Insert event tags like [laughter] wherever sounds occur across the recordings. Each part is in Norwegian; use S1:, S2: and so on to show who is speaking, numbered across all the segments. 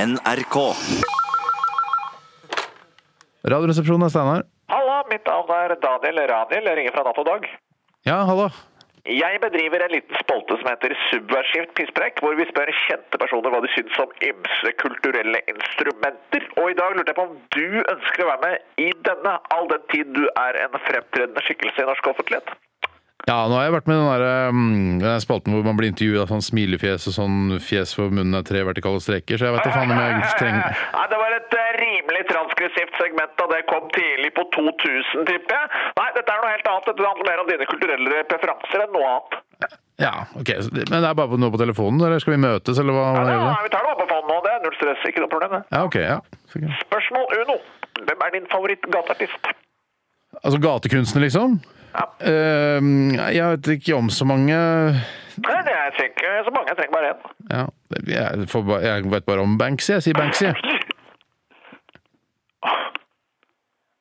S1: NRK.
S2: Radioresepsjonen er Steinar.
S3: Halla, mitt navn er Daniel Raniel, jeg ringer fra Natt og Dag.
S2: Ja, hallo.
S3: Jeg bedriver en liten spolte som heter Subversivt pisspreik, hvor vi spør kjente personer hva de syns om ymse kulturelle instrumenter. Og i dag lurte jeg på om du ønsker å være med i denne, all den tid du er en fremtredende skikkelse i norsk offentlighet.
S2: Ja, nå har jeg vært med i den der, um, den der spalten hvor man blir intervjuet av sånn smilefjes og sånn fjes hvor munnen er tre vertikale streker, så jeg vet da faen om jeg
S3: [laughs]
S2: trenger
S3: Nei, det var et eh, rimelig transkripsivt segment da det kom tidlig på 2000, tipper jeg. Nei, dette er noe helt annet. Dette handler mer om dine kulturelle preferanser enn noe annet.
S2: Ja, ok. så det- Men det er bare på- nå på telefonen, eller skal vi møtes, eller hva? hva
S3: Nei,
S2: gjør vi?
S3: nei, vi tar det opp på fond nå, det er null stress, ikke noe problem. det.
S2: Ja, ok, ja. Sikkert.
S3: Spørsmål uno. Hvem er din favoritt-gateartist?
S2: Altså gatekunstner, liksom?
S3: Ja.
S2: Ehm, jeg vet ikke om så mange
S3: Nei, det er jeg ikke så mange, jeg trenger bare én.
S2: ja, jeg, får ba, jeg vet bare om Banksy. Jeg sier Banksy.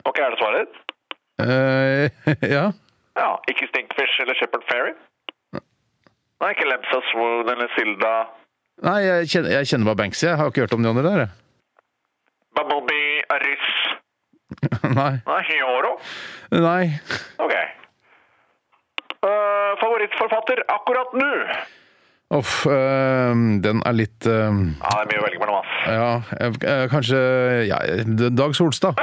S3: Ok, er det svaret ditt?
S2: Eh, [laughs] ja.
S3: Ja, ikke Stinkfish eller Shepherd Ferry? Nei, ikke Lemsa Swoon eller Silda
S2: Nei, jeg kjenner, jeg kjenner bare Banksy. Jeg har ikke hørt om de andre der. jeg.
S3: Bumblebee, Aris
S2: [laughs] Nei.
S3: Nei, Hyoro?
S2: Nei.
S3: Ok. Eh, favorittforfatter akkurat nå? Ja,
S2: Uff, ehm, den er litt ehm,
S3: det er mye å velge mellom, ass.
S2: Ja, eh, eh, kanskje ja, eh, Dag Solstad.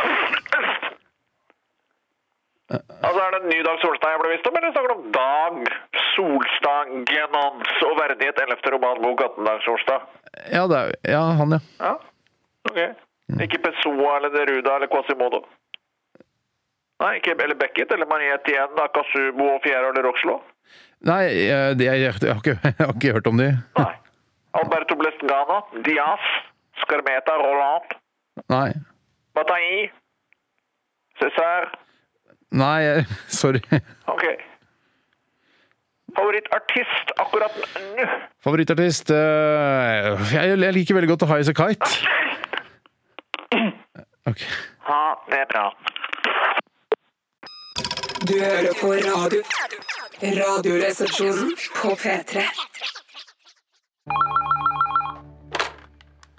S3: Altså, Er det en ny Dag Solstad jeg ble visst om, eller snakker du om Dag Solstad, genans og verdighet, 11. romanbok 18 Dag Solstad?
S2: Ja, det er, ja, han, ja.
S3: Ja, ok. Ikke Pessoa eller Neruda eller Quasimodo? Nei, ikke, eller Beckett eller Mariette igjen, Akasubo og Fiero eller Roxlo?
S2: Nei, eh, det, jeg, jeg, har ikke, [laughs] jeg har ikke hørt om de.
S3: Nei. Alberto Blestgana, Diaz, Scarmeta, Roland,
S2: Nei.
S3: Bataille, César.
S2: Nei, [laughs] jeg- sorry.
S3: Ok. Favorittartist akkurat nå?
S2: Favorittartist eh, jeg, jeg liker veldig godt High As A Kite. Ok.
S3: Ha det bra.
S4: Du hører på radio. Radioresepsjonen på P3.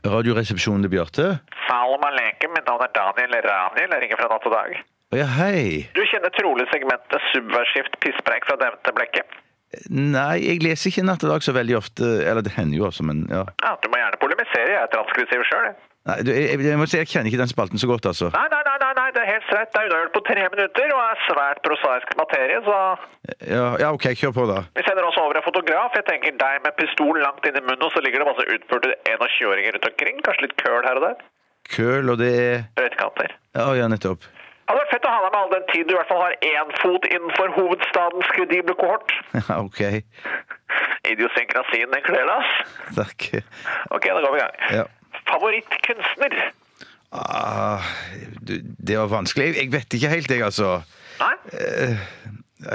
S1: Radioresepsjonen til Bjarte.
S3: Salam aleikum, mitt navn er Daniel Raniel, jeg ringer fra natt og dag.
S1: Å ja, hei.
S3: Du kjenner trolig segmentet subversivt pisspreik fra nevnte blekket.
S1: Nei, jeg leser ikke Natt og Dag så veldig ofte. Eller det hender jo også, men ja.
S3: Ja, du må gjerne polemisere, jeg er transkrissiv sjøl.
S1: Nei, du, jeg, jeg må si jeg kjenner ikke den spalten så godt, altså.
S3: Nei, nei, nei, nei, nei, det er helt streit. Det er unnagjort på tre minutter og er svært prosaisk materie, så
S1: Ja, ja OK, kjør på, da.
S3: vi sender oss over en fotograf. Jeg tenker deg med pistol langt inn i munnen, og så ligger det masse utførte 21-åringer rundt omkring. Kanskje litt køl her og der.
S1: Køl, og det er
S3: Røytekanter.
S1: Å ja, nettopp. [laughs]
S3: Det hadde vært fett å ha deg med all den tid du i hvert fall har én fot innenfor hovedstadens kredible kohort.
S1: Ja, OK.
S3: Idiosynkrasien, den kler deg, ass.
S1: Takk.
S3: Ok, da går vi i gang.
S1: Ja.
S3: Favorittkunstner?
S1: Ah, du, det var vanskelig. Jeg, jeg vet ikke helt, jeg, altså.
S3: Nei?
S1: Eh,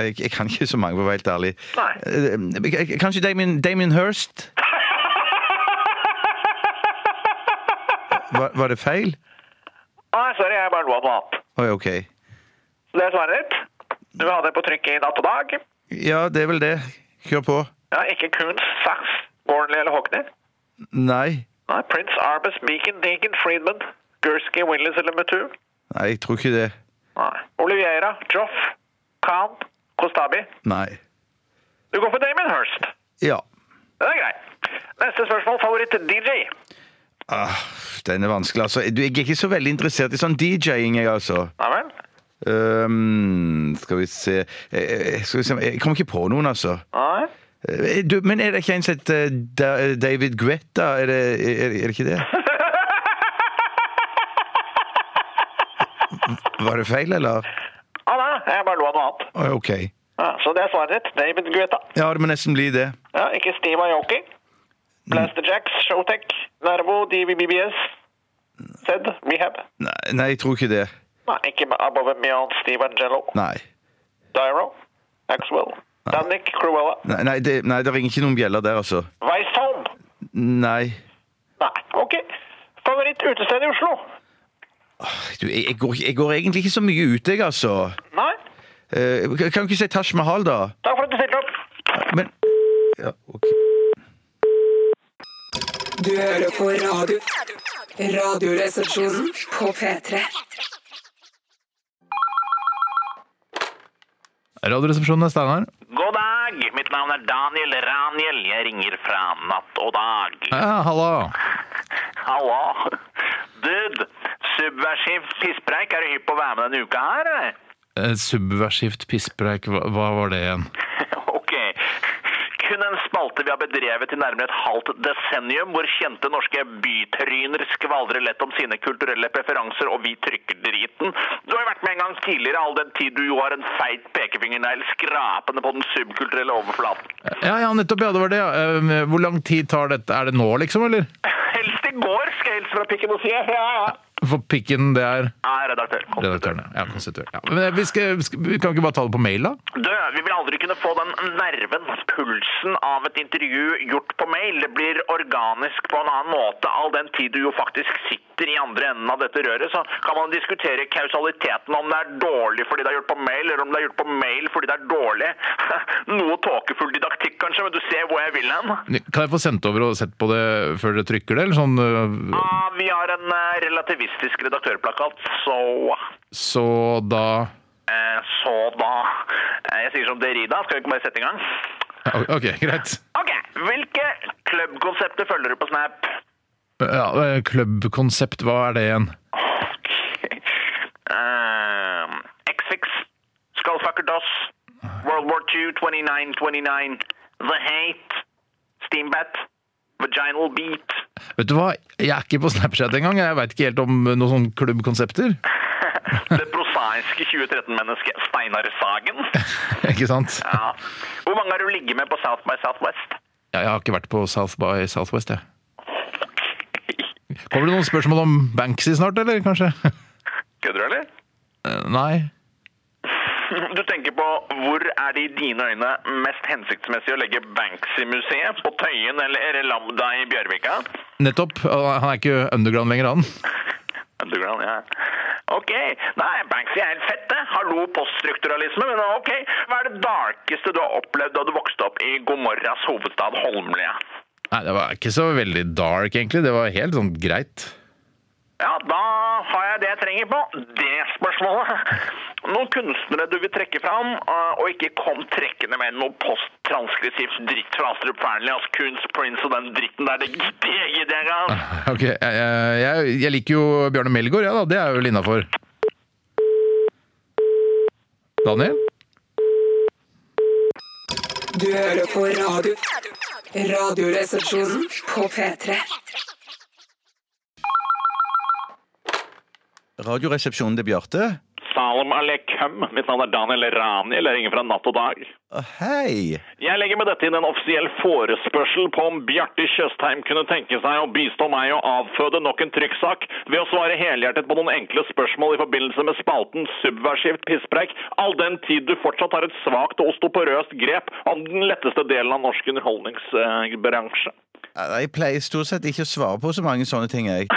S1: Jeg, jeg kan ikke så mange, for å være helt ærlig.
S3: Nei.
S1: Eh, jeg- jeg- Kanskje Damien, Damien Hirst? Var, var det feil?
S3: Nei, sorry, jeg bare lo av noe annet.
S1: Å ja, OK.
S3: Så det er svaret ditt. Du vil ha det på trykk i natt og dag.
S1: Ja, det er vel det. Kjør på.
S3: Ja, ikke Kunz, Sachs, Gornley eller Hockney.
S1: Nei.
S3: Nei, Prince Arbus, Beacon, Deacon, Friedman, Gursky, Willis eller Mutu.
S1: Nei, jeg tror ikke det.
S3: Nei. Oliveira, Joff, Khan, Kostabi.
S1: Nei.
S3: Du går for Damien Hirst.
S1: Ja.
S3: Den er grei. Neste spørsmål, favoritt-DJ.
S1: Ah, den er vanskelig, altså. Du, jeg er ikke så veldig interessert i sånn DJ-ing, jeg, altså.
S3: Nei vel?
S1: Ehm, skal vi se Eh, Skal vi se Jeg kommer ikke på noen, altså.
S3: Nei.
S1: Eh, Du, men er det ikke en som heter eh, Da- David Guetta? Er det, er, er det ikke det? Var det feil, eller?
S3: Ah, nei, nei, jeg bare lo av noe annet.
S1: Å, OK.
S3: Ja, så det er svaret ditt, David Guetta.
S1: Ja, det må nesten bli det.
S3: Ja, ikke Steve Aoki. Blaster Jacks, Showtech, Nervo, DVBBS, Zed, Rehab.
S1: Nei, nei, jeg tror ikke det.
S3: Nei, ikke Above and Beyond, Steve Angelo,
S1: Nei.
S3: Dyro, Maxwell, Danik, Cruella,
S1: Nei, nei, det, nei det ringer ikke noen bjeller der, altså.
S3: Weistholm.
S1: Nei.
S3: Nei, ok. Favoritt utested i Oslo?
S1: Du, jeg, jeg, går, ikke- jeg går egentlig ikke så mye ut, jeg, altså.
S3: Nei.
S1: Eh, kan du ikke si Taj Mahal, da?
S3: Takk for at du stilte opp.
S1: Men ja, ok.
S4: Du Du hører på radio. Radioresepsjonen på P3.
S2: Radioresepsjonen er Steinar.
S3: God dag! Mitt navn er Daniel Raniel. Jeg ringer fra Natt og Dag.
S2: Ja, halla.
S3: Hallo! Dude, subversiv pisspreik, er du hypp på å være med denne uka her? eller?
S2: Eh, Subversivt pisspreik, hva, hva var det igjen?
S3: Ok. Kun en spalte vi har bedrevet i nærmere et halvt desennium, hvor kjente norske bytryner skvaldrer lett om sine kulturelle preferanser, og vi trykker driten. Du har jo vært med en gang tidligere, all den tid du jo har en feit pekefingernegl skrapende på den subkulturelle overflaten.
S2: Ja, ja, nettopp, ja, det var det. ja. Eh, Hvor lang tid tar dette? Er det nå, liksom, eller?
S3: Helst i går, skal jeg hilse fra Pikken og si. Ja, ja.
S2: For pikken, det er
S3: Ja, redaktør. Kom.
S2: redaktørene. Ja, konstituert. Ja. Men eh, vi, skal, skal- vi kan ikke bare ta det på mail, da?
S3: Du, vi vil aldri kunne få den nerven, pulsen av et intervju gjort på mail. Det blir organisk på en annen måte. All den tid du jo faktisk sitter i andre enden av dette røret, så kan man diskutere kausaliteten om det er dårlig fordi det er gjort på mail, eller om det er gjort på mail fordi det er dårlig. [laughs] Noe tåkefull didaktikk, kanskje, men du ser hvor jeg vil hen.
S2: Kan jeg få sendt over og sett på det før dere trykker det, eller sånn eh,
S3: Ah, vi har en eh, relativistisk redaktørplakat, så
S2: Så da
S3: eh, Så da eh, Jeg sier som Derrida, skal vi ikke bare sette i gang?
S2: OK, [laughs] greit.
S3: Ok, hvilke klubbkonsepter følger du på Snap?
S2: Ja, eh, Klubbkonsept, hva er det igjen?
S3: Ok. Ehm, X-Fix, Skullfucker DOS, World War II 2929, The Hate, Steambat, Vaginal Beat.
S2: Vet du hva, jeg er ikke på Snapchat engang. Jeg veit ikke helt om noen sånne klubbkonsepter. [laughs]
S3: Det prosaiske 2013-mennesket Steinar Sagen.
S2: Ikke sant?
S3: Ja. Hvor mange har du ligget med på South by Southwest?
S2: Jeg har ikke vært på South by Southwest, jeg. Kommer det noen spørsmål om Banksy snart, eller kanskje? [laughs]
S3: Kødder du, eller?
S2: Eh, Nei.
S3: [laughs] Du tenker på hvor er det i dine øyne mest hensiktsmessig å legge Banksy-museet? På Tøyen eller Lambda i Bjørvika?
S2: Nettopp. Han er ikke underground lenger, han.
S3: Underground, ja. Ok, nei, Banksy er helt fett, det. Hallo poststrukturalisme, men ok. Hva er det darkeste du har opplevd da du vokste opp i Gomorras hovedstad Holmlia?
S2: Nei, det var ikke så veldig dark, egentlig. Det var helt sånn greit. [laughs]
S3: Ja, da har jeg det jeg trenger på. Det spørsmålet. Noen kunstnere du vil trekke fram, eh, og ikke kom trekkende med noe posttranskriptivt dritt fra Astrup Fearnley, altså kunst, Prince og den dritten der. Det gidder jeg ikke engang.
S2: Ok, jeg, jeg, jeg liker jo Bjarne Melgaard, ja da. Det er jeg vel innafor. Daniel?
S4: Du hører på radio. Radioresepsjonen på P3.
S1: Radioresepsjonen til Bjarte.
S3: Salem Alekum. Mitt navn er Daniel Raniel. Jeg ringer fra Natt og Dag.
S1: Å, Hei!
S3: Jeg legger med dette inn en offisiell forespørsel på om Bjarte Tjøstheim kunne tenke seg å bistå meg å avføde nok en trykksak ved å svare helhjertet på noen enkle spørsmål i forbindelse med spalten subversivt pisspreik, all den tid du fortsatt har et svakt og ostoporøst grep om den letteste delen av norsk underholdningsbransje.
S1: Jeg pleier stort sett ikke å svare på så mange sånne ting, jeg.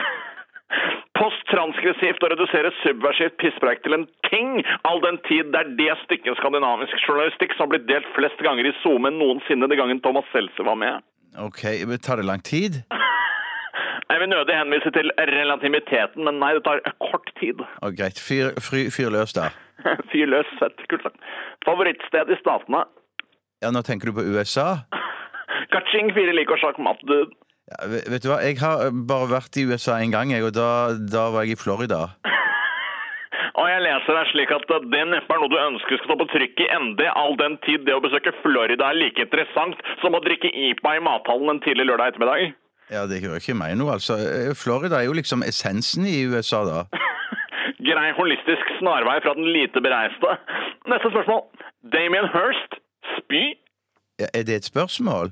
S3: Posttranskressivt å redusere subversivt pisspreik til en ting, all den tid det er det stykket skandinavisk journalistikk som har blitt delt flest ganger i SoMe noensinne den gangen Thomas Seltzer var med.
S1: Ok, men Tar det lang tid?
S3: Jeg vil nødig henvise til relativiteten, men nei, det tar kort tid. [laughs]
S1: Å, greit. Fyr, fyr, fyr løs, da.
S3: Fyr løs, fett, kult sagt. Favorittsted i statene?
S1: Ja, Nå tenker du på USA?
S3: Kaching, fire lik og sjakkmatt, du.
S1: Ja, ve- vet du hva, jeg har eh, bare vært i USA én gang, jeg, og da, da var jeg i Florida.
S3: Og jeg leser her slik at eh, det neppe er noe du ønsker skal stå på trykk i ND, all den tid det å besøke Florida er like interessant som å drikke IPA i mathallen en tidlig lørdag ettermiddag.
S1: Ja, Det gjør ikke meg noe, altså. Eh, Florida er jo liksom essensen i USA, da.
S3: Grei holistisk snarvei fra den lite bereiste. Neste spørsmål. Damien Hirst, spy
S1: Ja, Er det et spørsmål?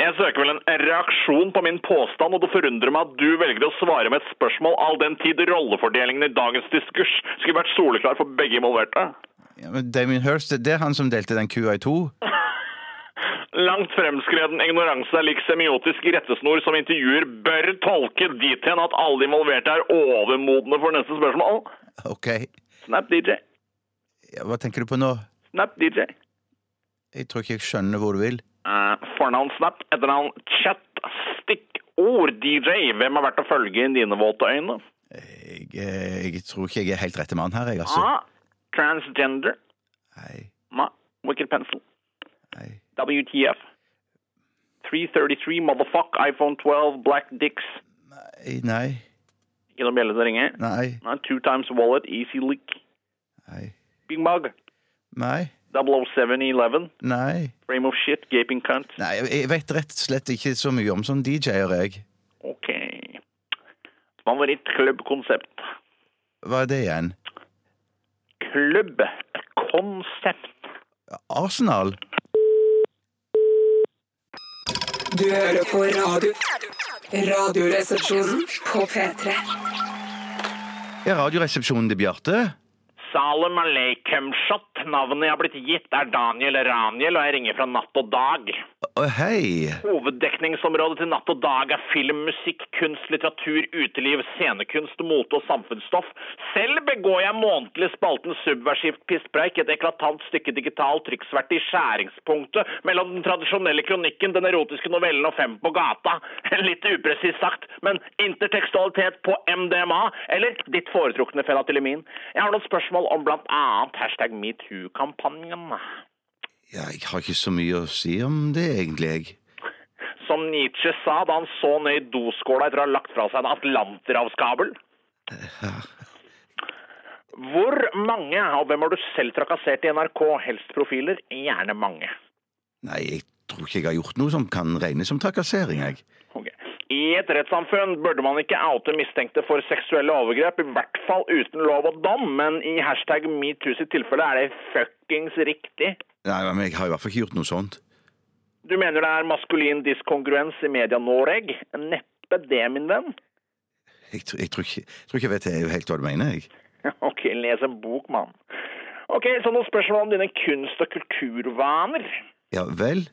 S3: Jeg søker vel en reaksjon på min påstand, og det forundrer meg at du velger å svare med et spørsmål all den tid rollefordelingen i dagens diskurs skulle vært soleklar for begge involverte.
S1: Ja, men Damien Hirst, det er han som delte den kua i to?
S3: Langt fremskreden ignoranse er lik semiotisk rettesnor som intervjuer bør tolke dit hen at alle involverte er overmodne for neste spørsmål.
S1: Ok.
S3: Snap DJ.
S1: Ja, hva tenker du på nå?
S3: Snap DJ.
S1: Jeg tror ikke jeg skjønner hvor du vil.
S3: Eh, fornavn Snap, etternavn Chat, stikkord DJ. Hvem har vært å følge i dine våte øyne?
S1: Jeg, eh, jeg tror ikke jeg er helt rette mann her, jeg,
S3: A.
S1: altså.
S3: Transgender.
S1: Nei,
S3: Ma. Wicked Pencil.
S1: nei.
S3: WTF. 333 Motherfuck iPhone 12 Black Dicks.
S1: Nei, nei,
S3: Ikke noe bjelle som ringer.
S1: nei,
S3: Nei, Two times wallet, easy leak.
S1: nei,
S3: Big mug.
S1: nei,
S3: 00711.
S1: nei.
S3: Frame of shit, gaping cunt.
S1: Nei, jeg- jeg vet rett og slett ikke så mye om sånn DJ-er, jeg.
S3: Ok. Favorittklubbkonsept.
S1: Hva er det igjen?
S3: Klubbkonsept.
S1: Arsenal?
S4: Du hører på radio. Radioresepsjonen på P3.
S1: Er radioresepsjonen til Bjarte?
S3: Salem Aleikemshot. Navnet jeg har blitt gitt er Daniel Raniel, og jeg ringer fra Natt og Dag.
S1: Å, hei!
S3: Hoveddekningsområdet til Natt og Dag er film, musikk, kunst, litteratur, uteliv, scenekunst, mote og samfunnsstoff. Selv begår jeg månedlig spalten Subversivt pisspreik, et eklatant stykke digital trykksverte i skjæringspunktet mellom den tradisjonelle kronikken, den erotiske novellen og Fem på gata. [laughs] Litt upresist sagt, men intertekstualitet på MDMA, eller ditt foretrukne fenatilamin. Jeg har noen spørsmål om blant annet hashtag metoo-kampanjen.
S1: Ja, jeg har ikke så mye å si om det, egentlig. jeg.
S3: Som Nietzsche sa da han så ned i doskåla etter å ha lagt fra seg en atlanterhavskabel. Hvor mange, og hvem har du selv trakassert i NRK, helst profiler? Gjerne mange.
S1: Nei, jeg tror ikke jeg har gjort noe som kan regnes som trakassering, jeg.
S3: Ok. I et rettssamfunn burde man ikke oute mistenkte for seksuelle overgrep, i hvert fall uten lov og dom, men i hashtag metoo sitt tilfelle er det fuckings riktig.
S1: Nei, men jeg har i hvert fall ikke gjort noe sånt.
S3: Du mener det er maskulin diskongruens i media Noreg? Neppe det, min venn.
S1: Jeg, tr- jeg, tror, ikke, jeg tror ikke jeg vet helt hva du mener, jeg.
S3: [laughs] Ok, les en bok, mann. Ok, så noen spørsmål om dine kunst- og kulturvaner. eh,
S1: Ja vel?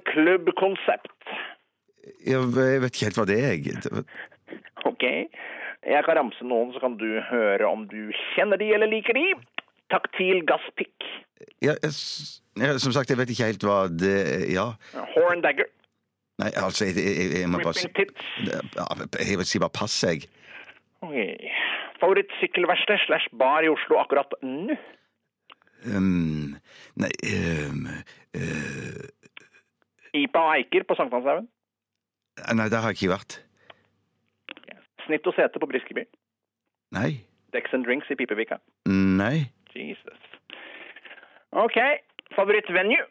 S3: Favorittklubbkonsept.
S1: Jeg, jeg vet ikke helt hva det er, jeg. Det-
S3: ok, jeg kan ramse noen, så kan du høre om du kjenner de eller liker de. Taktil gasspikk.
S1: Ja, jeg, s- ja, som sagt, jeg vet ikke helt hva det Ja.
S3: Horn dagger.
S1: Nei, altså, jeg, jeg, jeg, jeg må bare si
S3: Ripping tits.
S1: Ja, Jeg vil si bare pass, jeg.
S3: Ok. Favorittsykkelverksted slash bar i Oslo akkurat nå.
S1: Um, nei um, eh,
S3: Ipa og Eiker på Sankthanshaugen.
S1: Nei, der har jeg ikke vært.
S3: Snitt og sete på Briskeby.
S1: Nei.
S3: Dex and drinks i Pipevika.
S1: Nei.
S3: Jesus. Ok, favorittvenue.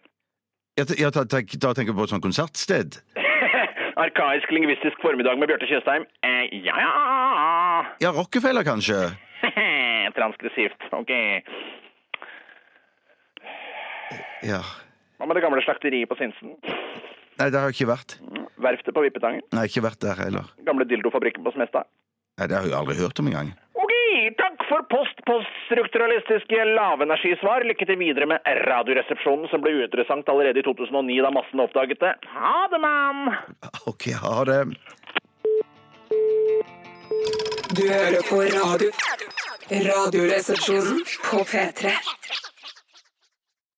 S1: Ja, t- ja, ta- tenk- da tenker jeg på et sånt konsertsted.
S3: [laughs] Arkaisk lingvistisk formiddag med Bjarte Tjøstheim. Eh, ja, [laughs] ja.
S1: Ja, Rockefeller, kanskje?
S3: Transkressivt. Ok.
S1: Ja.
S3: Hva med det gamle slakteriet på Sinsen?
S1: Nei, der har jeg ikke vært.
S3: Verftet på Vippetangen?
S1: Nei, ikke vært der heller.
S3: Gamle dildofabrikken på Smestad?
S1: Nei, Det har jeg aldri hørt om engang.
S3: Ok, takk for post poststrukturalistiske lavenergisvar. Lykke til videre med Radioresepsjonen, som ble uinteressant allerede i 2009 da massen oppdaget det. Ha det, mann!
S1: [laughs] OK, ha det.
S4: Du hører på radio. Radioresepsjonen på P3.